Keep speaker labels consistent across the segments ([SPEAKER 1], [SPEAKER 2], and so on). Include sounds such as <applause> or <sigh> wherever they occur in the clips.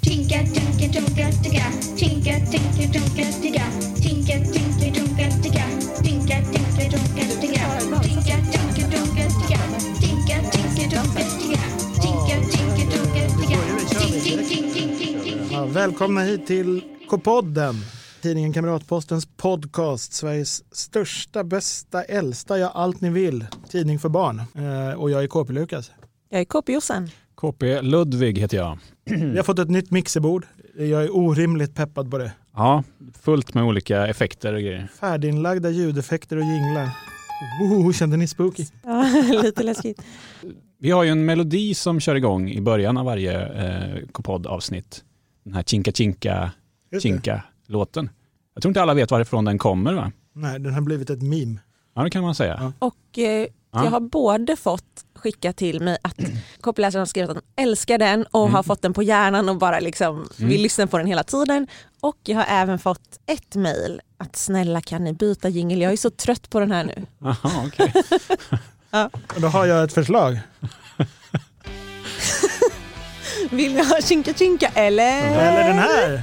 [SPEAKER 1] Tinka, tinka, tonka, ticka. Tinka, tinka, tonka, ticka. Tinka, tinka, tonka, ticka. Tinka, tinka, tonka, ticka. Tinka, tinka, tonka, ticka. Tinka, tinka, tonka, ticka. Tinka, tinka, tonka, ticka. Tink, tink, tink, tink, tink, tink.
[SPEAKER 2] Ja, välkomna hit till K-podden, tidningen Kamratpostens podcast, Sveriges största, bästa, äldsta, ja allt ni vill, tidning för barn. Eh, och jag är KP-Lukas.
[SPEAKER 3] Jag är KP-Jossan.
[SPEAKER 4] KP Ludvig heter jag. Mm.
[SPEAKER 2] Vi har fått ett nytt mixerbord. Jag är orimligt peppad på det.
[SPEAKER 4] Ja, fullt med olika effekter och grejer.
[SPEAKER 2] Färdiginlagda ljudeffekter och jinglar. Oh, kände ni spooky?
[SPEAKER 3] <laughs> Ja, lite läskigt.
[SPEAKER 4] Vi har ju en melodi som kör igång i början av varje eh, K-podd-avsnitt. Den här Chinka Chinka
[SPEAKER 2] Just det.
[SPEAKER 4] Chinka-låten. Jag tror inte alla vet varifrån den kommer va?
[SPEAKER 2] Nej, den har blivit ett meme.
[SPEAKER 4] Ja, det kan man säga.
[SPEAKER 2] Ja.
[SPEAKER 3] Och eh,
[SPEAKER 4] Ja.
[SPEAKER 3] jag har både fått skicka till mig att KP-läsaren har skrivit att de älskar den och
[SPEAKER 4] Mm.
[SPEAKER 3] har fått den på hjärnan och bara liksom vill lyssna på den hela tiden. Och jag har även fått ett mejl att snälla kan ni byta jingel, jag är så trött på den här nu.
[SPEAKER 4] <laughs> Aha, okej.
[SPEAKER 2] Och då har jag ett förslag.
[SPEAKER 3] Vill ni ha Chinka Chinka eller?
[SPEAKER 2] Eller den här.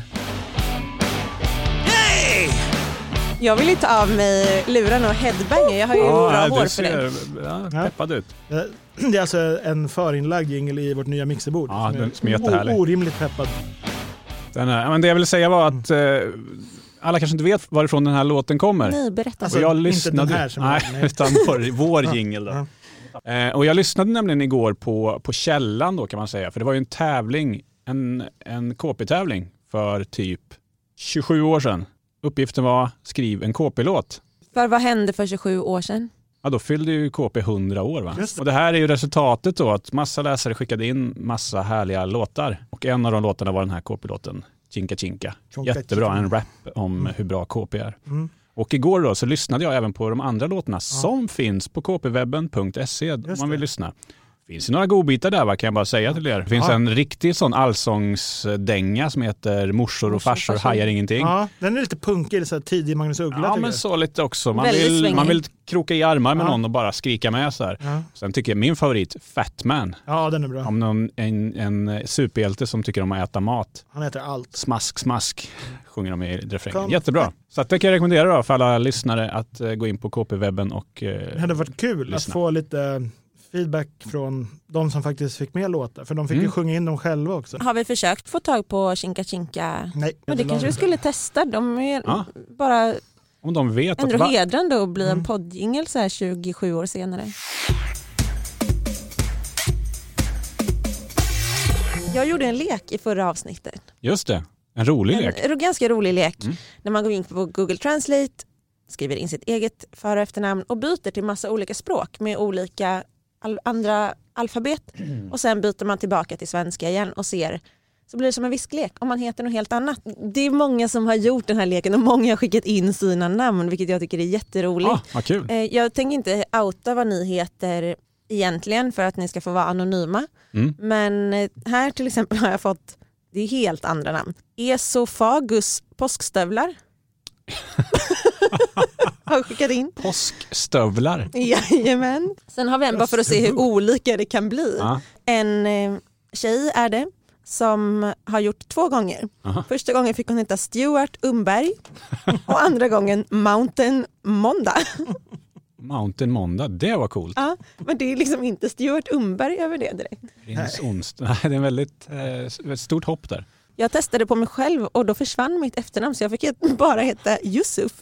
[SPEAKER 3] Jag vill ju ta av mig luren och headbanga, jag har ju bra
[SPEAKER 4] Ja,
[SPEAKER 3] hår
[SPEAKER 4] du
[SPEAKER 3] för det.
[SPEAKER 4] ser ja,
[SPEAKER 2] Ja.
[SPEAKER 4] peppad ut.
[SPEAKER 2] Eh, <clears throat> Det är alltså en förinlagd jingel i vårt nya mixerbord.
[SPEAKER 4] Ja, den- som är
[SPEAKER 2] o-
[SPEAKER 4] jättehärlig.
[SPEAKER 2] Orimligt peppad.
[SPEAKER 4] Den här, ja, men det jag ville säga var att eh, alla kanske inte vet varifrån den här låten kommer.
[SPEAKER 3] Nej, berätta.
[SPEAKER 2] Alltså,
[SPEAKER 4] och jag
[SPEAKER 2] inte
[SPEAKER 4] lyssnade,
[SPEAKER 2] den här som-
[SPEAKER 4] nej,
[SPEAKER 2] nej.
[SPEAKER 4] utan vår, vår jingel. Då. Eh, och jag lyssnade nämligen igår på, på Källan då kan man säga, för det var ju en tävling, en, en KP-tävling för typ 27 år sedan. Uppgiften var skriv en KP-låt.
[SPEAKER 3] För vad hände för 27 år sedan?
[SPEAKER 4] Ja, då fyllde ju KP 100 år. Va?
[SPEAKER 2] Just det.
[SPEAKER 4] Och det här är ju resultatet då, att massa läsare skickade in massa härliga låtar. Och en av de låtarna var den här KP-låten, Chinka Chinka.
[SPEAKER 2] Chonka
[SPEAKER 4] Jättebra,
[SPEAKER 2] Chinka.
[SPEAKER 4] en rap om hur bra KP är.
[SPEAKER 2] Mm.
[SPEAKER 4] Och igår då så lyssnade jag även på de andra låtarna som finns på kpwebben.se e. om
[SPEAKER 2] Just
[SPEAKER 4] man vill
[SPEAKER 2] det.
[SPEAKER 4] lyssna. finns ju några godbitar där va, kan jag bara säga till er. Det finns
[SPEAKER 2] Ja.
[SPEAKER 4] en riktig sån allsångsdänga som heter Morsor och farsor
[SPEAKER 3] farsor.
[SPEAKER 4] hajar ingenting. Ja.
[SPEAKER 2] Ja, den är lite punkig, så här tidig Magnus Uggla tycker
[SPEAKER 4] men
[SPEAKER 2] jag.
[SPEAKER 4] så lite också. Man
[SPEAKER 3] Väldigt
[SPEAKER 4] vill,
[SPEAKER 3] svängig.
[SPEAKER 4] man vill kroka i armar med
[SPEAKER 2] Ja.
[SPEAKER 4] någon och bara skrika med så här.
[SPEAKER 2] Ja.
[SPEAKER 4] Sen tycker jag min favorit, Fatman,
[SPEAKER 2] ja, den är bra.
[SPEAKER 4] om någon, en, en superhjälte som tycker om att äta mat.
[SPEAKER 2] Han heter allt.
[SPEAKER 4] Smask, smask sjunger de i refrängen.
[SPEAKER 2] Kom.
[SPEAKER 4] Jättebra. Så att det kan jag rekommendera då för alla lyssnare att eh, gå in på KP-webben och
[SPEAKER 2] Det
[SPEAKER 4] eh,
[SPEAKER 2] hade varit kul att
[SPEAKER 4] Lyssna.
[SPEAKER 2] få lite eh, feedback från de som faktiskt fick med låtar. För de fick ju
[SPEAKER 4] Mm.
[SPEAKER 2] sjunga in dem själva också.
[SPEAKER 3] Har vi försökt få tag på Chinka Chinka?
[SPEAKER 2] Nej,
[SPEAKER 3] Men det kanske vi skulle testa. De är
[SPEAKER 4] Ja.
[SPEAKER 3] bara
[SPEAKER 4] om de vet att...
[SPEAKER 3] ändå
[SPEAKER 4] va- Mm.
[SPEAKER 3] hedrande att bli en poddjingel så här 27 år senare. Jag gjorde en lek i förra avsnittet.
[SPEAKER 4] Just det, en rolig lek.
[SPEAKER 3] En ro- ganska rolig lek.
[SPEAKER 4] Mm.
[SPEAKER 3] När man går in på Google Translate, skriver in sitt eget för och efternamn och byter till massa olika språk med olika al- andra alfabet.
[SPEAKER 4] Mm.
[SPEAKER 3] Och sen byter man tillbaka till svenska igen och ser så blir det som en visklek om man heter något helt annat. Det är många som har gjort den här leken och många har skickat in sina namn vilket jag tycker är jätteroligt.
[SPEAKER 4] Ah, vad kul.
[SPEAKER 3] Eh, Jag tänker inte outa vad ni heter egentligen för att ni ska få vara anonyma.
[SPEAKER 4] Mm.
[SPEAKER 3] Men eh, här till exempel har jag fått, det är helt andra namn. Esofagus
[SPEAKER 4] <laughs>
[SPEAKER 3] påskstövlar. har skickat in.
[SPEAKER 4] Påskstövlar.
[SPEAKER 3] Jajamän. Sen har vi en bara för att se hur olika det kan bli.
[SPEAKER 4] Ja.
[SPEAKER 3] En eh, tjej är det som har gjort två gånger.
[SPEAKER 4] Aha.
[SPEAKER 3] Första gången fick hon heta Stuart Umberg och andra gången Mountain Monda.
[SPEAKER 4] Mountain Måndag, det var coolt.
[SPEAKER 3] Ja, men det är liksom inte Stuart Umberg över det direkt.
[SPEAKER 4] Prins Onsdag. <laughs> Nej, det är en väldigt, eh, s- ett stort hopp där. <laughs>
[SPEAKER 3] Jag testade på mig själv och då försvann mitt efternamn så jag fick het- bara heta Yusuf.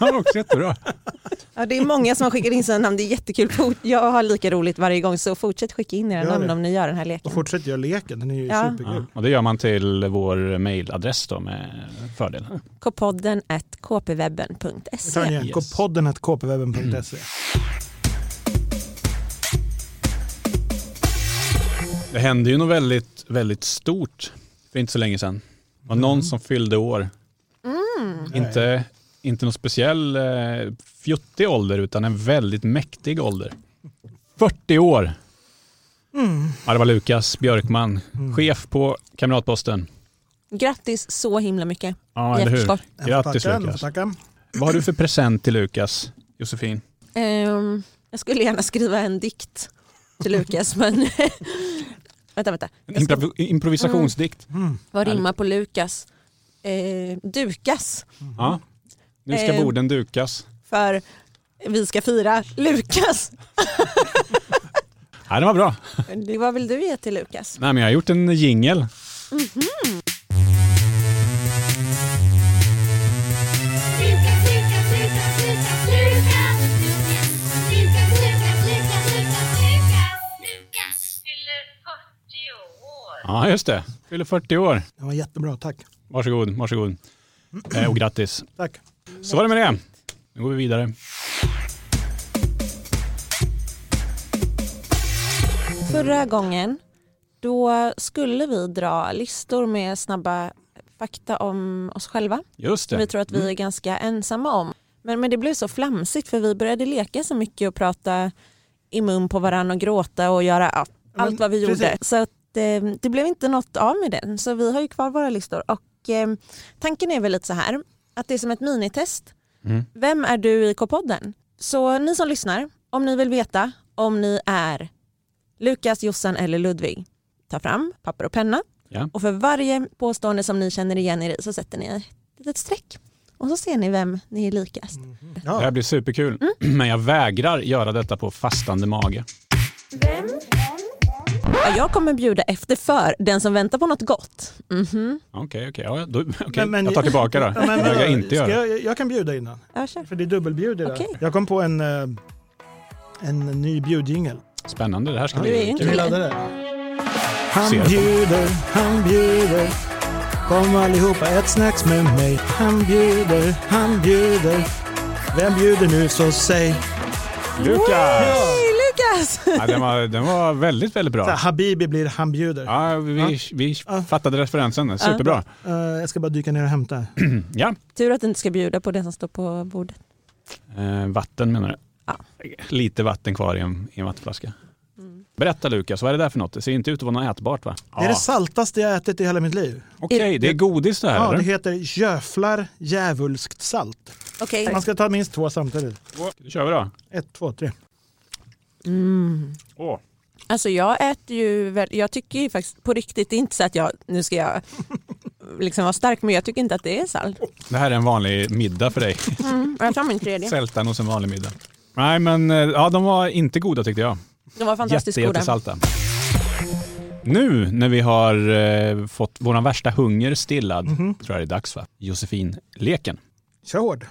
[SPEAKER 4] Också jättebra.
[SPEAKER 3] Ja, det är många som har skickat in sina namn, det är jättekul. Fort- Jag har lika roligt varje gång så fortsätt skicka in era
[SPEAKER 2] Gör
[SPEAKER 3] namn
[SPEAKER 2] det.
[SPEAKER 3] om ni gör den här
[SPEAKER 2] Och
[SPEAKER 3] leken.
[SPEAKER 2] fortsätt göra leken, den är ju
[SPEAKER 3] Ja.
[SPEAKER 2] superkul.
[SPEAKER 4] Ja, och det gör man till vår mejladress då med fördel.
[SPEAKER 3] Kpodden at
[SPEAKER 2] Vi tar den
[SPEAKER 3] kpwebben.se.
[SPEAKER 2] igen.
[SPEAKER 4] Yes. Mm.
[SPEAKER 2] Gå podden att kpwebben.se.
[SPEAKER 4] Det hände ju något väldigt, väldigt stort för inte så länge sedan. Det var någon som fyllde år. Inte, inte någon speciell eh, fjuttig ålder utan en väldigt mäktig ålder. 40 år!
[SPEAKER 2] Mm.
[SPEAKER 4] Ja, det var Lukas Björkman, chef på Kamratposten.
[SPEAKER 3] Grattis så himla mycket.
[SPEAKER 4] Ja, eller hur?
[SPEAKER 3] Jättestort.
[SPEAKER 4] Grattis
[SPEAKER 2] Tacka,
[SPEAKER 4] Lukas.
[SPEAKER 2] tacka.
[SPEAKER 4] Vad har du för present till Lukas, Josefin?
[SPEAKER 3] <laughs> Ehm, jag skulle gärna skriva en dikt till Lukas men Vänta, vänta.
[SPEAKER 4] En improv improvisationsdikt.
[SPEAKER 2] Mm.
[SPEAKER 3] Vad rimmar på Lukas? Eh, dukas.
[SPEAKER 4] Ja. Nu ska
[SPEAKER 3] Eh.
[SPEAKER 4] borden dukas.
[SPEAKER 3] För vi ska fira <laughs> Lukas.
[SPEAKER 4] Ja, det var bra.
[SPEAKER 3] Det var väl du ge till Lukas?
[SPEAKER 4] Nej, men jag har gjort en jingel. Ja, just det. Fyller 40 år.
[SPEAKER 2] Det var jättebra, tack.
[SPEAKER 4] Varsågod, varsågod. Eh, och grattis. <laughs>
[SPEAKER 2] Tack.
[SPEAKER 4] Så var det med det. Nu går vi vidare.
[SPEAKER 3] Förra gången då skulle vi dra listor med snabba fakta om oss själva.
[SPEAKER 4] Just
[SPEAKER 3] Som vi
[SPEAKER 4] det.
[SPEAKER 3] tror att vi är ganska ensamma om. Men, men det blev så flamsigt för vi började leka så mycket och prata i mun på varandra och gråta och göra ja,
[SPEAKER 2] Men
[SPEAKER 3] allt vad vi gjorde.
[SPEAKER 2] precis.
[SPEAKER 3] Så att, eh, det blev inte något av med den. Så vi har ju kvar våra listor. Och, eh, tanken är väl lite så här att det är som ett minitest.
[SPEAKER 4] Mm.
[SPEAKER 3] Vem är du i K-podden? Så ni som lyssnar, om ni vill veta om ni är Lukas, Jossan eller Ludvig, ta fram papper och penna.
[SPEAKER 4] Ja.
[SPEAKER 3] Och för varje påstående som ni känner igen er i så sätter ni ett litet streck. Och så ser ni vem ni är likast.
[SPEAKER 2] Mm.
[SPEAKER 4] Det här
[SPEAKER 2] Ja,
[SPEAKER 4] blir superkul.
[SPEAKER 3] Mm.
[SPEAKER 4] <clears throat> Men jag vägrar göra detta på fastande mage.
[SPEAKER 3] Ja, jag kommer bjuda efter för den som väntar på något gott. Mhm.
[SPEAKER 4] Okej, okej. Ja, då- <laughs> okej.
[SPEAKER 2] Men- men-
[SPEAKER 4] Jag tar tillbaka då.
[SPEAKER 2] <laughs> Ja,
[SPEAKER 4] Det
[SPEAKER 2] vadå?
[SPEAKER 4] vägrar jag inte
[SPEAKER 2] Ska
[SPEAKER 4] göra.
[SPEAKER 2] jag, jag kan bjuda innan,
[SPEAKER 3] Ja, kör.
[SPEAKER 2] för det är dubbelbjud i det. här.
[SPEAKER 3] Okej.
[SPEAKER 2] Jag kom på en, eh, en ny bjudjingel.
[SPEAKER 4] Spännande, det här ska
[SPEAKER 2] Ja,
[SPEAKER 3] Du är ju
[SPEAKER 4] bli
[SPEAKER 3] inte
[SPEAKER 4] kul.
[SPEAKER 2] Vill
[SPEAKER 3] med.
[SPEAKER 2] du ladda det? Han
[SPEAKER 4] Ser jag.
[SPEAKER 2] bjuder, han bjuder. Kom allihopa, ett snacks med mig. Han bjuder, han bjuder. Vem bjuder nu så säg?
[SPEAKER 4] Lukas!
[SPEAKER 3] Hej Lukas!
[SPEAKER 4] Ja, den, var, den var väldigt, väldigt
[SPEAKER 2] Så här,
[SPEAKER 4] bra.
[SPEAKER 2] Habibi blir han bjuder.
[SPEAKER 4] Ja, vi, vi fattade referensen. Superbra.
[SPEAKER 2] Eh, jag ska bara dyka ner och hämta.
[SPEAKER 4] Ja.
[SPEAKER 3] <laughs> Tur att du inte ska bjuda på det som står på bordet.
[SPEAKER 4] Eh, Vatten menar du?
[SPEAKER 3] Ja.
[SPEAKER 4] Lite vatten kvar i en, i en vattenflaska.
[SPEAKER 3] Mm.
[SPEAKER 4] Berätta Lukas, vad är det där för något? Det ser inte ut att vara något ätbart va?
[SPEAKER 2] Det är det
[SPEAKER 4] Ja.
[SPEAKER 2] saltaste jag ätit i hela mitt liv.
[SPEAKER 4] Okej, det är godis det här
[SPEAKER 2] Ja,
[SPEAKER 4] eller?
[SPEAKER 2] det heter göflar djävulskt salt.
[SPEAKER 3] Okej.
[SPEAKER 2] Man ska ta minst två samtidigt.
[SPEAKER 4] Då kör vi då.
[SPEAKER 2] Ett, två, tre.
[SPEAKER 4] Åh.
[SPEAKER 3] Alltså jag äter ju, väl- jag tycker ju faktiskt på riktigt, det är inte så att jag, nu ska jag liksom vara stark, men jag tycker inte att det är salt.
[SPEAKER 4] Det här är en vanlig middag för dig.
[SPEAKER 3] Mm, jag tar min tredje.
[SPEAKER 4] Sältan och en vanlig middag. Nej men eh, ja, de var inte goda tyckte jag.
[SPEAKER 3] De var fantastiskt
[SPEAKER 4] Jätte,
[SPEAKER 3] goda.
[SPEAKER 4] jättesalta. Nu när vi har eh, fått vår värsta hunger stillad
[SPEAKER 3] Mhm.
[SPEAKER 4] tror jag det är dags va? Josefin-leken.
[SPEAKER 2] Kör hård.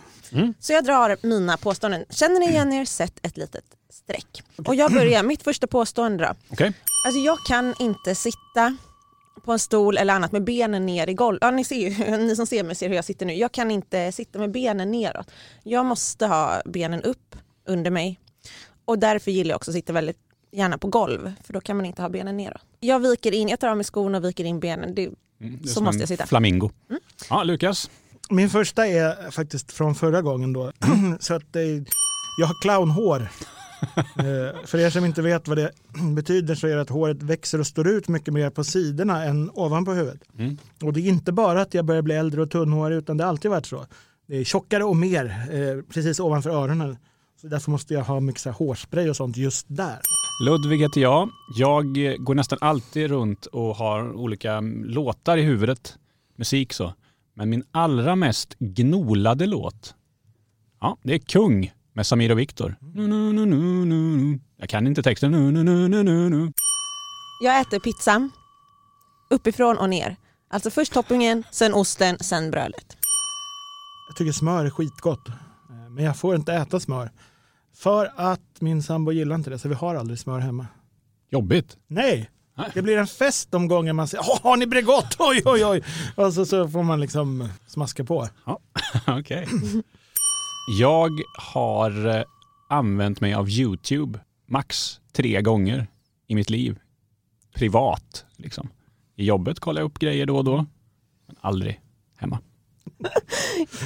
[SPEAKER 3] Så jag drar mina påståenden. Känner ni igen er, sätt ett litet streck. Och jag börjar, mitt första påstående då.
[SPEAKER 4] Okej?
[SPEAKER 3] Alltså jag kan inte sitta på en stol eller annat med benen ner i golvet. Ja, ni, ser ju, <laughs> ni som ser mig ser hur jag sitter nu. Jag kan inte sitta med benen neråt. Jag måste ha benen upp under mig. Och därför gillar jag också att sitta väldigt gärna på golv. För då kan man inte ha benen neråt. Jag viker in, jag tar av mig skorna och viker in benen. Det,
[SPEAKER 4] Mm, det är
[SPEAKER 3] Så
[SPEAKER 4] som
[SPEAKER 3] måste
[SPEAKER 4] en
[SPEAKER 3] jag sitta. Mm.
[SPEAKER 4] Flamingo. Ja, Lukas.
[SPEAKER 2] Min första är faktiskt från förra gången då. <clears throat> så att det är, jag har clownhår. Eh, För er som inte vet vad det <clears throat> betyder så är det att håret växer och står ut mycket mer på sidorna än ovanpå huvudet.
[SPEAKER 4] Mm.
[SPEAKER 2] Och det är inte bara att jag börjar bli äldre och tunnhårig utan det har alltid varit så. Det är tjockare och mer eh, precis ovanför öronen. Så därför måste jag ha mycket så här hårspray och sånt just där.
[SPEAKER 4] Ludvig heter jag. Jag eh, går nästan alltid runt och har olika mm, låtar i huvudet. Musik så. Men min allra mest gnolade låt, ja, det är Kung med Samir och Viktor. Nu, nu, nu, nu, nu, nu. Jag kan inte texten. Nu, nu, nu, nu, nu, nu.
[SPEAKER 3] jag äter pizza uppifrån och ner. Alltså först toppingen, sen osten, sen brödet.
[SPEAKER 2] Jag tycker smör är skitgott. Eh, Men jag får inte äta smör. För att min sambo gillar inte det så vi har aldrig smör hemma.
[SPEAKER 4] Jobbigt. <laughs>
[SPEAKER 2] Nej,
[SPEAKER 4] Nej.
[SPEAKER 2] det blir en fest de gånger man säger "Åh, har ni Bregott? <laughs> Oj, oj, oj. Och så, så får man liksom smaska på.
[SPEAKER 4] Okej. Jag har eh, använt mig av YouTube max tre gånger i mitt liv. Privat, liksom. I jobbet kollar jag upp grejer då och då, men aldrig hemma.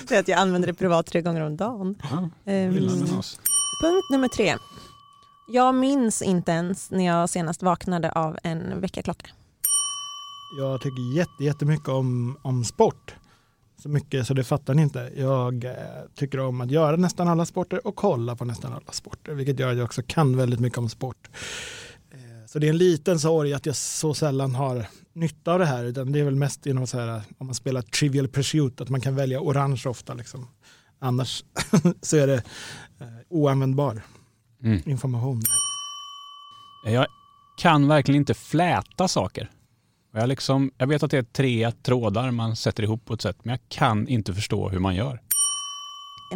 [SPEAKER 3] Det är att jag använder det privat tre gånger om dagen.
[SPEAKER 4] Ja,
[SPEAKER 3] Ehm,
[SPEAKER 4] illa med oss.
[SPEAKER 3] Punkt nummer tre. Jag minns inte ens när jag senast vaknade av en väckarklocka.
[SPEAKER 2] Jag tycker jätte, jättemycket om, om sport. Så mycket så det fattar ni inte. Jag eh, tycker om att göra nästan alla sporter och kolla på nästan alla sporter. Vilket gör att jag också kan väldigt mycket om sport. Eh, Så det är en liten sorg att jag så sällan har nytta av det här. Utan det är väl mest genom så här, om man spelar Trivial Pursuit, att man kan välja orange ofta. Liksom. Annars <laughs> så är det eh, oanvändbar
[SPEAKER 4] Mm.
[SPEAKER 2] information.
[SPEAKER 4] Jag kan verkligen inte fläta saker. Och Jag, liksom, jag vet att det är tre trådar man sätter ihop på ett sätt, men jag kan inte förstå hur man gör.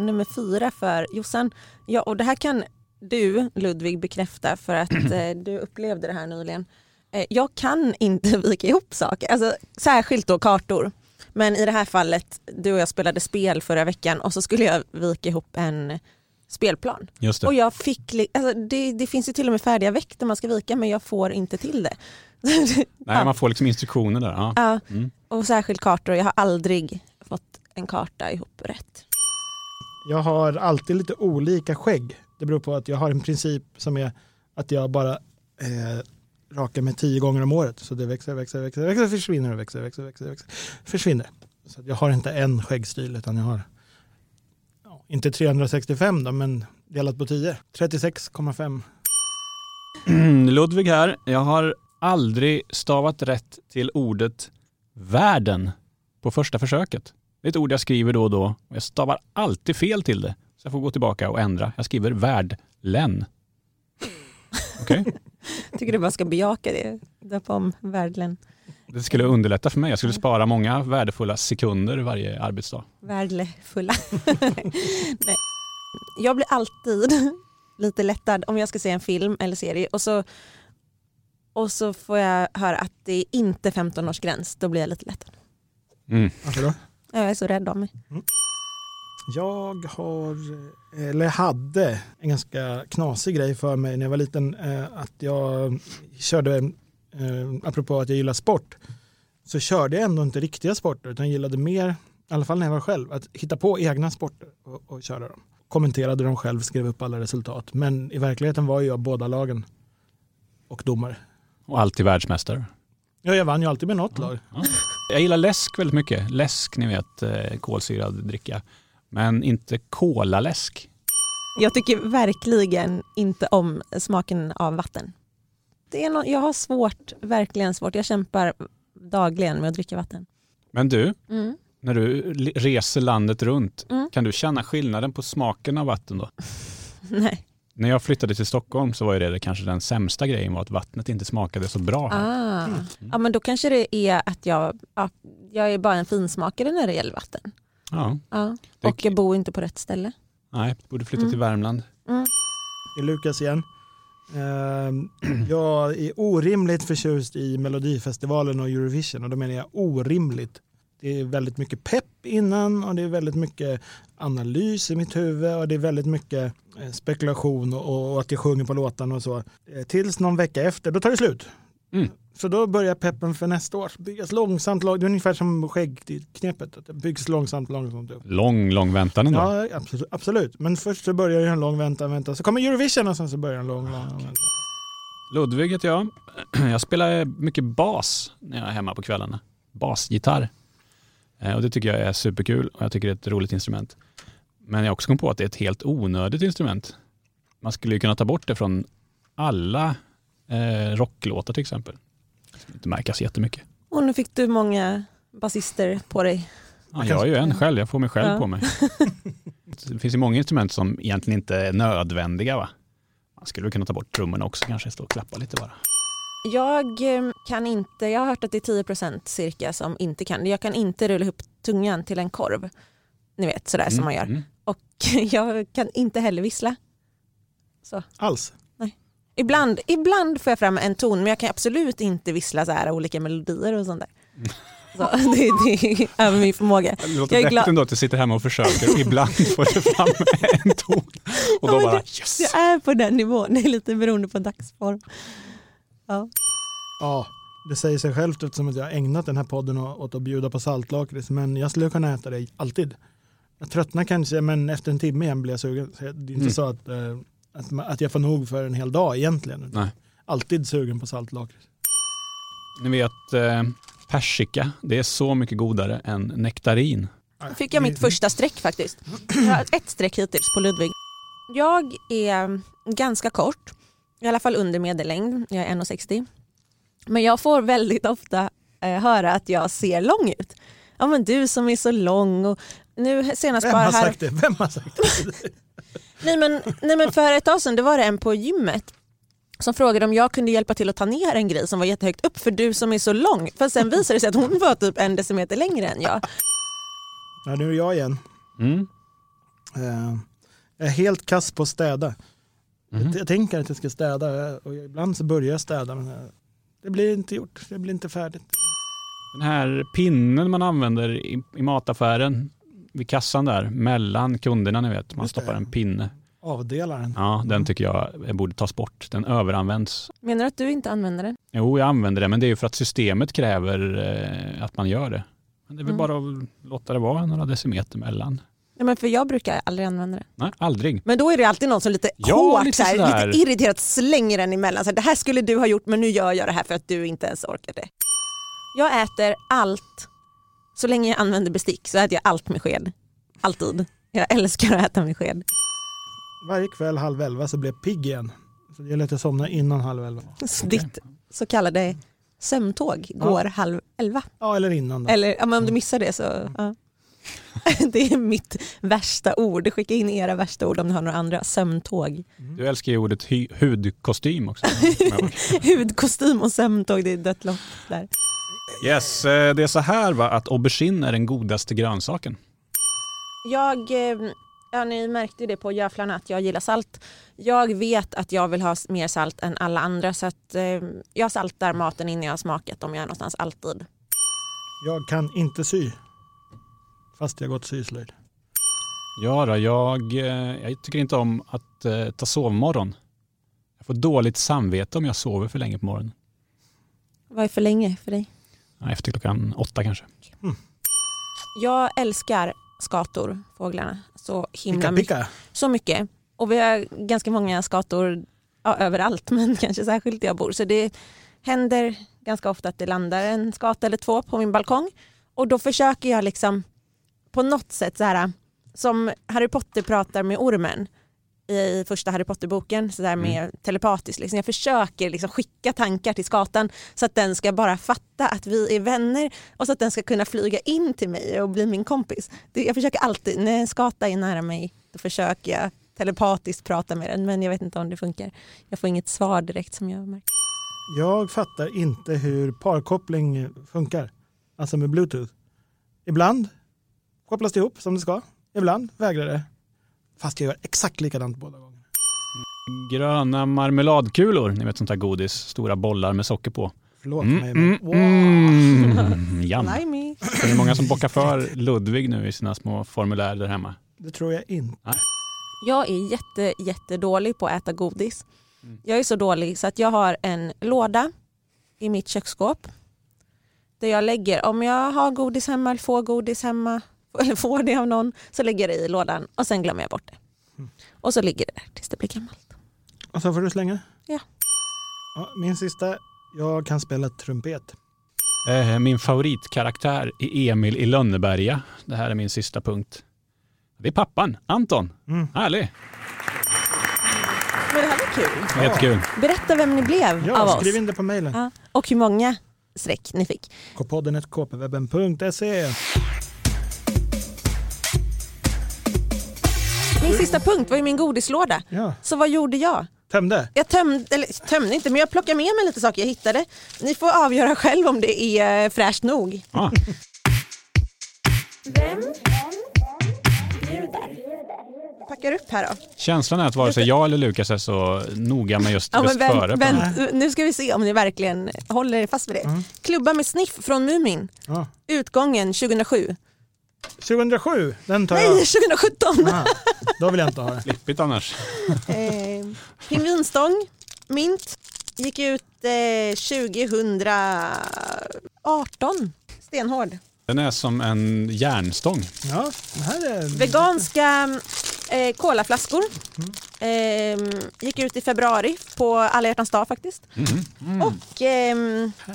[SPEAKER 3] Nummer fyra för Jossan. Ja, och det här kan du, Ludvig, bekräfta för
[SPEAKER 4] <clears throat>
[SPEAKER 3] att eh, du upplevde det här nyligen. Eh, jag kan inte <laughs> vika ihop saker, alltså, särskilt då kartor. Men i det här fallet, du och jag spelade spel förra veckan och så skulle jag vika ihop en spelplan.
[SPEAKER 4] Just det.
[SPEAKER 3] Och jag fick, li- alltså, det, det finns ju till och med färdiga veck där man ska vika men jag får inte till det. <laughs>
[SPEAKER 4] Nej, man får liksom instruktioner där. Ja. <clears throat>
[SPEAKER 3] Ja,
[SPEAKER 4] Mm.
[SPEAKER 3] och särskilt kartor, jag har aldrig fått en karta ihop rätt.
[SPEAKER 2] Jag har alltid lite olika skägg. Det beror på att jag har en princip som är att jag bara eh, rakar mig tio gånger om året. Så det växer, växer, växer, växer, försvinner och växer, växer, växer, växer, försvinner. Så att jag har inte en skäggstil utan jag har ja, inte 365 då, men delat på 10. 36,5.
[SPEAKER 4] Ludvig här. Jag har aldrig stavat rätt till ordet världen på första försöket. Det är ett ord jag skriver då och då och jag stavar alltid fel till det. Så jag får gå tillbaka och ändra. Jag skriver värdlen. Okej?
[SPEAKER 3] Tycker du man ska bejaka det? Döpa om världen.
[SPEAKER 4] Det skulle underlätta för mig. Jag skulle spara många värdefulla sekunder varje arbetsdag.
[SPEAKER 3] Värdefulla. <laughs> Nej. Jag blir alltid <laughs> lite lättad om jag ska se en film eller serie och så, och så får jag höra att det är inte 15-årsgräns. Då blir jag lite lättad.
[SPEAKER 2] Varför alltså då?
[SPEAKER 3] Jag är så rädd om mig.
[SPEAKER 2] Jag har, eller hade, en ganska knasig grej för mig när jag var liten. eh, Att jag körde, eh, apropå att jag gillar sport, så körde jag ändå inte riktiga sporter utan gillade mer, i alla fall när jag var själv, att hitta på egna sporter och, och köra dem. Kommenterade dem själv, skrev upp alla resultat. Men i verkligheten var ju jag båda lagen och domare.
[SPEAKER 4] Och alltid världsmästare.
[SPEAKER 2] Ja, jag vann ju alltid med något lag.
[SPEAKER 4] Ja. Jag gillar läsk väldigt mycket. Läsk, ni vet, eh, kolsyrad dricka. Men inte kolaläsk.
[SPEAKER 3] Jag tycker verkligen inte om smaken av vatten. Det är nå- jag har svårt, verkligen svårt. Jag kämpar dagligen med att dricka vatten.
[SPEAKER 4] Men du,
[SPEAKER 3] Mm.
[SPEAKER 4] när du le- reser landet runt,
[SPEAKER 3] Mm.
[SPEAKER 4] kan du känna skillnaden på smaken av vatten då?
[SPEAKER 3] Nej.
[SPEAKER 4] När jag flyttade till Stockholm så var ju det kanske den sämsta grejen var att vattnet inte smakade så bra. här.
[SPEAKER 3] Ah. Ja, men då kanske det är att jag, ja, jag är bara en finsmakare när det gäller vatten.
[SPEAKER 4] Ja,
[SPEAKER 3] Ja.
[SPEAKER 4] Det-
[SPEAKER 3] Och jag bor inte på rätt ställe.
[SPEAKER 4] nej, borde flytta
[SPEAKER 3] Mm.
[SPEAKER 4] till Värmland.
[SPEAKER 2] Det är Lukas igen. Ehm, Jag är orimligt förtjust i Melodifestivalen och Eurovision och då menar jag orimligt. Det är väldigt mycket pepp innan och det är väldigt mycket analys i mitt huvud och det är väldigt mycket eh, spekulation och och att jag sjunger på låtarna och så. Eh, Tills någon vecka efter, då tar det slut.
[SPEAKER 4] Mm.
[SPEAKER 2] Så då börjar peppen för nästa år byggas långsamt. lång- Det är ungefär som skäggknepet, att det byggs långsamt, långsamt upp.
[SPEAKER 4] Lång, lång väntan ändå.
[SPEAKER 2] Ja, absolut, absolut. Men först så börjar ju en lång väntan, vänta. Så kommer Eurovision och sen så börjar en lång, lång väntan.
[SPEAKER 4] Ludvig heter jag. <clears throat> Jag spelar mycket bas när jag är hemma på kvällarna. Basgitarr. Eh, Och det tycker jag är superkul och jag tycker det är ett roligt instrument. Men jag har också kom på att det är ett helt onödigt instrument. Man skulle ju kunna ta bort det från alla eh, rocklåtar till exempel. Det skulle inte märkas jättemycket.
[SPEAKER 3] Och nu fick du många basister på dig.
[SPEAKER 4] Ja, jag är ju en själv, jag får mig själv
[SPEAKER 3] Ja.
[SPEAKER 4] på mig. Det finns ju många instrument som egentligen inte är nödvändiga. Va? Man skulle väl kunna ta bort trummorna också kanske, stå och klappa lite bara.
[SPEAKER 3] Jag eh, kan inte, jag har hört att det är 10% cirka som inte kan. Jag kan inte rulla ihop tungan till en korv. Ni vet sådär som man gör.
[SPEAKER 4] Mm.
[SPEAKER 3] Och <laughs> jag kan inte heller vissla.
[SPEAKER 2] Alls.
[SPEAKER 3] Ibland, ibland får jag fram en ton men jag kan absolut inte vissla så här olika melodier och sånt där. Så, <laughs> det, det är över min förmåga.
[SPEAKER 4] Det låter
[SPEAKER 3] Jag är
[SPEAKER 4] vettigt
[SPEAKER 3] glad-
[SPEAKER 4] ändå att du sitter hemma och försöker och ibland får du fram en ton. Och
[SPEAKER 3] Ja,
[SPEAKER 4] då
[SPEAKER 3] men
[SPEAKER 4] bara
[SPEAKER 3] det-
[SPEAKER 4] yes!
[SPEAKER 3] Jag är på den nivån, det är lite beroende på dagsform.
[SPEAKER 2] Ja, det säger sig självt eftersom att jag har ägnat den här podden å- åt att bjuda på saltlakrits. Men jag skulle kunna äta det alltid. Jag tröttnar kanske, men efter en timme igen blir jag sugen. Så jag- det är inte
[SPEAKER 4] Mm.
[SPEAKER 2] så att, eh, att, ma- att jag får nog för en hel dag egentligen.
[SPEAKER 4] Nej.
[SPEAKER 2] Alltid sugen på saltlakrits.
[SPEAKER 4] Ni vet eh, persika, det är så mycket godare än nektarin.
[SPEAKER 3] Då fick jag mitt första streck faktiskt. Jag har ett streck hittills på Ludvig. Jag är ganska kort I alla fall under medellängd, jag är 1,60. Men jag får väldigt ofta eh, höra att jag ser lång ut. Ja men du som är så lång och nu senast
[SPEAKER 2] Vem
[SPEAKER 3] bara
[SPEAKER 2] har
[SPEAKER 3] här.
[SPEAKER 2] sagt det? Vem har sagt det?
[SPEAKER 3] Nej men, nej men för ett tag sedan det var det en på gymmet som frågade om jag kunde hjälpa till att ta ner en grej som var jättehögt upp för du som är så lång. För sen visade det sig att hon var typ en decimeter längre än jag.
[SPEAKER 2] Ja, nu är jag igen.
[SPEAKER 4] Mm.
[SPEAKER 2] Eh, Jag är helt kass på att städa.
[SPEAKER 4] Mhm.
[SPEAKER 2] Jag, jag tänker att jag ska städa eh, och ibland så börjar jag städa men eh, det blir inte gjort. Det blir inte färdigt.
[SPEAKER 4] Den här pinnen man använder i, i mataffären vid kassan där, mellan kunderna ni vet. Man
[SPEAKER 2] Just det.
[SPEAKER 4] stoppar en pinne.
[SPEAKER 2] Avdelar den.
[SPEAKER 4] Ja, den tycker jag eh, borde tas bort. Den överanvänds.
[SPEAKER 3] Menar du att du inte använder den?
[SPEAKER 4] Jo, jag använder det, men det är ju för att systemet kräver eh, att man gör det. Men det är väl
[SPEAKER 3] Mm.
[SPEAKER 4] bara att låta det vara några decimeter mellan.
[SPEAKER 3] Nej men för jag brukar aldrig använda den.
[SPEAKER 4] Nej, aldrig.
[SPEAKER 3] Men då är det alltid någon som lite
[SPEAKER 4] Ja,
[SPEAKER 3] hårt,
[SPEAKER 4] lite
[SPEAKER 3] lite, så här,
[SPEAKER 4] sådär.
[SPEAKER 3] lite irriterat slänger den emellan. Så här, det här skulle du ha gjort men nu gör jag det här för att du inte ens orkar det. Jag äter allt, så länge jag använder bestick så äter jag allt med sked. Alltid. Jag älskar att äta med sked.
[SPEAKER 2] Varje kväll halv elva så blir jag pigg igen. Så det gäller att jag somnar innan halv elva.
[SPEAKER 3] Så Ditt så kallade sömntåg går halv elva.
[SPEAKER 2] Ja, eller innan. Då.
[SPEAKER 3] Eller ja, Mm. men om du missar det så... Ja. <laughs> Det är mitt värsta ord. Skicka in era värsta ord om ni har några andra. Sömntåg. <laughs>
[SPEAKER 4] Du älskar ju ordet hy- hudkostym också. <laughs>
[SPEAKER 3] Hudkostym och sömntåg, det är dött lopp där.
[SPEAKER 4] yes, eh, det är så här va, att aubergine är den godaste grönsaken.
[SPEAKER 3] Jag, eh, ja, ni märkte ju det på göflarna att jag gillar salt. Jag vet att jag vill ha s- mer salt än alla andra så att, eh, jag saltar maten innan jag har smakat om jag är någonstans alltid.
[SPEAKER 2] Jag kan inte sy. Fast jag har gått syslöjd.
[SPEAKER 4] Ja, då, jag, eh, jag tycker inte om att eh, ta sovmorgon. Jag får dåligt samvete om jag sover för länge på morgonen.
[SPEAKER 3] Vad är för länge för dig?
[SPEAKER 4] Ja, Efter klockan åtta kanske.
[SPEAKER 3] Jag älskar skator, fåglarna, så himla
[SPEAKER 2] Picka,
[SPEAKER 3] mycket.
[SPEAKER 2] picka.
[SPEAKER 3] så mycket. Och vi har ganska många skator ja, överallt <laughs> men kanske särskilt där jag bor. Så det händer ganska ofta att det landar en skata eller två på min balkong. Och då försöker jag liksom på något sätt så här som Harry Potter pratar med ormen i första Harry Potter-boken så där med telepatiskt. Liksom. Jag försöker liksom skicka tankar till skatan så att den ska bara fatta att vi är vänner och så att den ska kunna flyga in till mig och bli min kompis. Det, jag försöker alltid, när en skata är nära mig, då försöker jag telepatiskt prata med den men jag vet inte om det funkar. Jag får inget svar direkt som jag märker.
[SPEAKER 2] Jag fattar inte hur parkoppling funkar. Alltså med bluetooth. Ibland kopplas det ihop som det ska. Ibland vägrar det. Fast jag gör exakt likadant båda gångerna.
[SPEAKER 4] Gröna marmeladkulor, ni vet sånt här godis, stora bollar med socker på.
[SPEAKER 2] Förlåt
[SPEAKER 4] Mm,
[SPEAKER 2] mig.
[SPEAKER 4] mm,
[SPEAKER 2] Men, wow.
[SPEAKER 4] mm, jam.
[SPEAKER 3] Limey.
[SPEAKER 4] Det är många som bockar för Ludvig nu i sina små formulär där hemma.
[SPEAKER 2] Det tror jag inte.
[SPEAKER 3] Jag är jätte, jättedålig på att äta godis.
[SPEAKER 4] Mm.
[SPEAKER 3] Jag är så dålig så att jag har en låda i mitt köksskåp där jag lägger, om jag har godis hemma eller får godis hemma <laughs> eller får det av någon så lägger jag det i lådan och sen glömmer jag bort det.
[SPEAKER 2] Mm.
[SPEAKER 3] Och så ligger det där tills det blir gammalt.
[SPEAKER 2] Och så får du slänga?
[SPEAKER 3] Ja.
[SPEAKER 2] ja. Min sista. Jag kan spela trumpet.
[SPEAKER 4] Eh, Min favoritkaraktär är Emil i Lönneberga. Det här är min sista punkt. Det är pappan, Anton.
[SPEAKER 2] Mm.
[SPEAKER 4] Härlig,
[SPEAKER 3] Men det här var kul.
[SPEAKER 4] jättekul.
[SPEAKER 3] Berätta vem ni blev av
[SPEAKER 2] Ja,
[SPEAKER 3] oss
[SPEAKER 2] skriv in det på mejlen.
[SPEAKER 3] ja. och hur många streck ni fick.
[SPEAKER 2] kpodden.kpwebben.se
[SPEAKER 3] Min sista punkt var ju min godislåda.
[SPEAKER 2] Ja,
[SPEAKER 3] Så vad gjorde jag?
[SPEAKER 2] tömde.
[SPEAKER 3] Jag tömde, eller tömde inte, men jag plockade med mig lite saker jag hittade. Ni får avgöra själv om det är eh, fräscht nog.
[SPEAKER 4] Ah,
[SPEAKER 3] Jag packar upp här då.
[SPEAKER 4] känslan är att vare sig jag eller Lukas är så noga med just bäst
[SPEAKER 3] vänt-
[SPEAKER 4] före. på den här. Mm.
[SPEAKER 3] vänt, nu ska vi se om ni verkligen håller er fast vid det. Klubba med sniff från Mumin,
[SPEAKER 2] Ja.
[SPEAKER 3] utgången 2007.
[SPEAKER 2] 2007, den tar jag.
[SPEAKER 3] Nej, 2017!
[SPEAKER 2] Ah, då vill jag inte ha det.
[SPEAKER 4] Flippigt annars. Mm.
[SPEAKER 3] Eh, pingvinstång, mint, gick ut eh, 2018. Stenhård.
[SPEAKER 4] Den är som en järnstång.
[SPEAKER 2] Ja, det här är...
[SPEAKER 3] Veganska eh, kolaflaskor. Eh, gick ut i februari på alla hjärtans dag faktiskt. Och eh,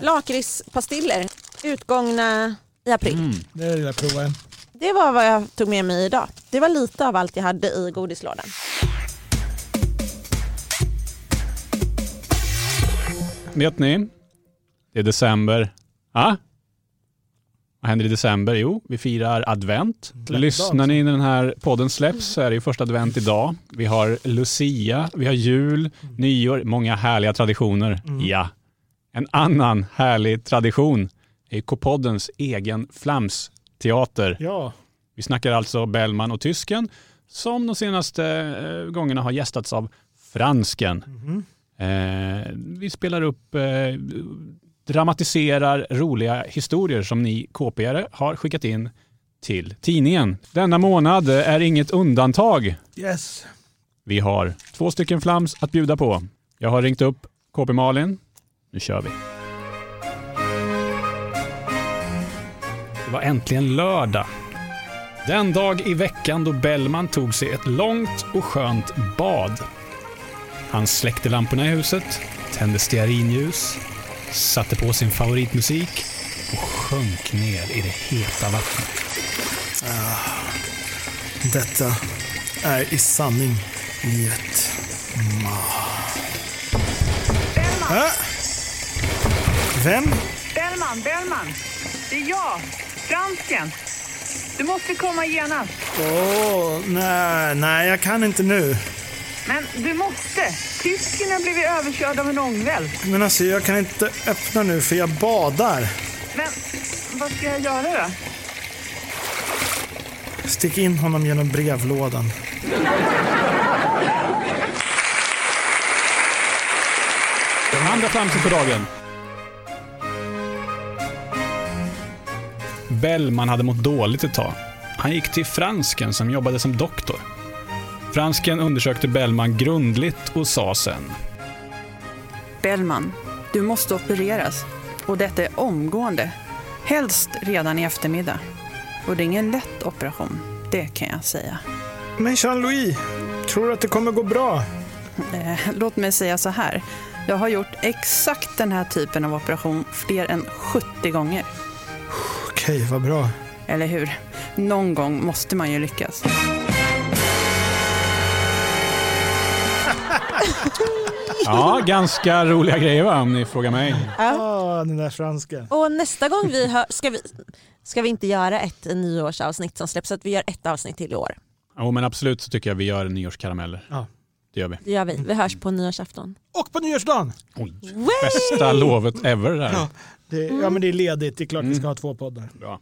[SPEAKER 3] lakritspastiller utgångna i april.
[SPEAKER 2] Det vill jag prova. en.
[SPEAKER 3] Det var vad jag tog med mig idag. Det var lite av allt jag hade i godislådan.
[SPEAKER 4] vet ni? Det är december. Ja? Vad händer i december? Jo, vi firar advent.
[SPEAKER 2] Adventdag
[SPEAKER 4] Lyssnar ni när den här podden släpps så är det ju första advent idag. Vi har Lucia, vi har jul, nyår, många härliga traditioner. Ja. En annan härlig tradition är K-poddens egen flamsteater.
[SPEAKER 2] Ja,
[SPEAKER 4] Vi snackar alltså Bellman och tysken som de senaste eh, gångerna har gästats av fransken. Eh, vi spelar upp, eh, dramatiserar roliga historier som ni KP-are har skickat in till tidningen. Denna månad är inget undantag.
[SPEAKER 2] yes.
[SPEAKER 4] Vi har två stycken flams att bjuda på. Jag har ringt upp KP Malin. Nu kör vi. Det var äntligen lördag. Den dag i veckan då Bellman tog sig ett långt och skönt bad. Han släckte lamporna i huset, tände stearinljus, satte på sin favoritmusik och sjönk ner i det heta vattnet.
[SPEAKER 2] Detta är i sanning livet. Ma. Äh? Vem?
[SPEAKER 5] Bellman, Bellman. Det är jag, fransken. Du måste komma genast.
[SPEAKER 2] Åh, nej, nej, jag kan inte nu.
[SPEAKER 5] Men du måste. Tysken har blivit överkörd av en ångvält.
[SPEAKER 2] Men alltså, jag kan inte öppna nu för jag badar.
[SPEAKER 5] Men vad ska jag göra då?
[SPEAKER 2] Stick in honom genom brevlådan.
[SPEAKER 4] Den andra flamsen på dagen. Bellman hade mått dåligt ett tag. Han gick till fransken som jobbade som doktor. Fransken undersökte Bellman grundligt och sa sen.
[SPEAKER 6] Bellman, du måste opereras och detta är omgående. Helst redan i eftermiddag. Och det är ingen lätt operation, det kan jag säga.
[SPEAKER 2] Men Jean-Louis, tror du att det kommer gå bra?
[SPEAKER 6] Eh, låt mig säga så här. Jag har gjort exakt den här typen av operation fler än 70 gånger.
[SPEAKER 2] Okej, vad bra.
[SPEAKER 6] Eller hur? Någon gång måste man ju lyckas.
[SPEAKER 4] Ja, ganska roliga grejer va, om ni frågar mig.
[SPEAKER 3] Ja.
[SPEAKER 2] Ah, den där franska.
[SPEAKER 3] Och nästa gång vi hör, ska vi, ska vi inte göra ett nyårsavsnitt som släpps så att vi gör ett avsnitt till i år.
[SPEAKER 4] Jo, men absolut så tycker jag vi gör nyårskarameller.
[SPEAKER 2] Ja.
[SPEAKER 4] Det gör vi.
[SPEAKER 3] Det gör vi. Vi hörs på nyårsafton.
[SPEAKER 2] Och på nyårsdagen!
[SPEAKER 4] Oj,
[SPEAKER 3] Wee!
[SPEAKER 4] bästa lovet ever det här.
[SPEAKER 2] Ja. Det, ja, men det är ledigt. Det är klart vi ska ha två poddar.
[SPEAKER 4] Bra.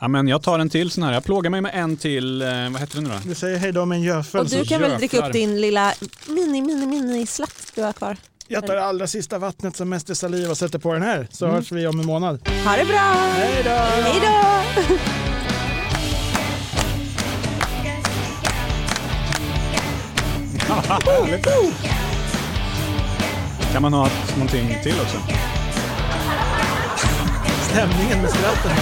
[SPEAKER 4] Ja, men jag tar en till sån här. Jag plågar mig med en till, eh, vad heter den nu då?
[SPEAKER 2] Du säger hej då med en gödföl.
[SPEAKER 3] Och du
[SPEAKER 4] Alltså,
[SPEAKER 3] kan väl dricka
[SPEAKER 4] jäklar.
[SPEAKER 3] upp din lilla mini, mini, mini slatt du har kvar.
[SPEAKER 2] Jag tar det allra sista vattnet som mest är saliv och sätter på den här. Så hörs vi om en månad.
[SPEAKER 3] Ha det bra!
[SPEAKER 2] Hej då!
[SPEAKER 3] Hej då!
[SPEAKER 4] Ah, Kan man ha någonting till också?
[SPEAKER 2] Stämningen med skratten.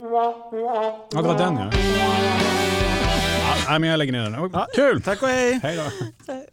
[SPEAKER 4] Ja, det var den ja. ja nej, men jag lägger ner den.
[SPEAKER 2] Ja.
[SPEAKER 4] Kul!
[SPEAKER 2] Tack och hej!
[SPEAKER 4] Hej då.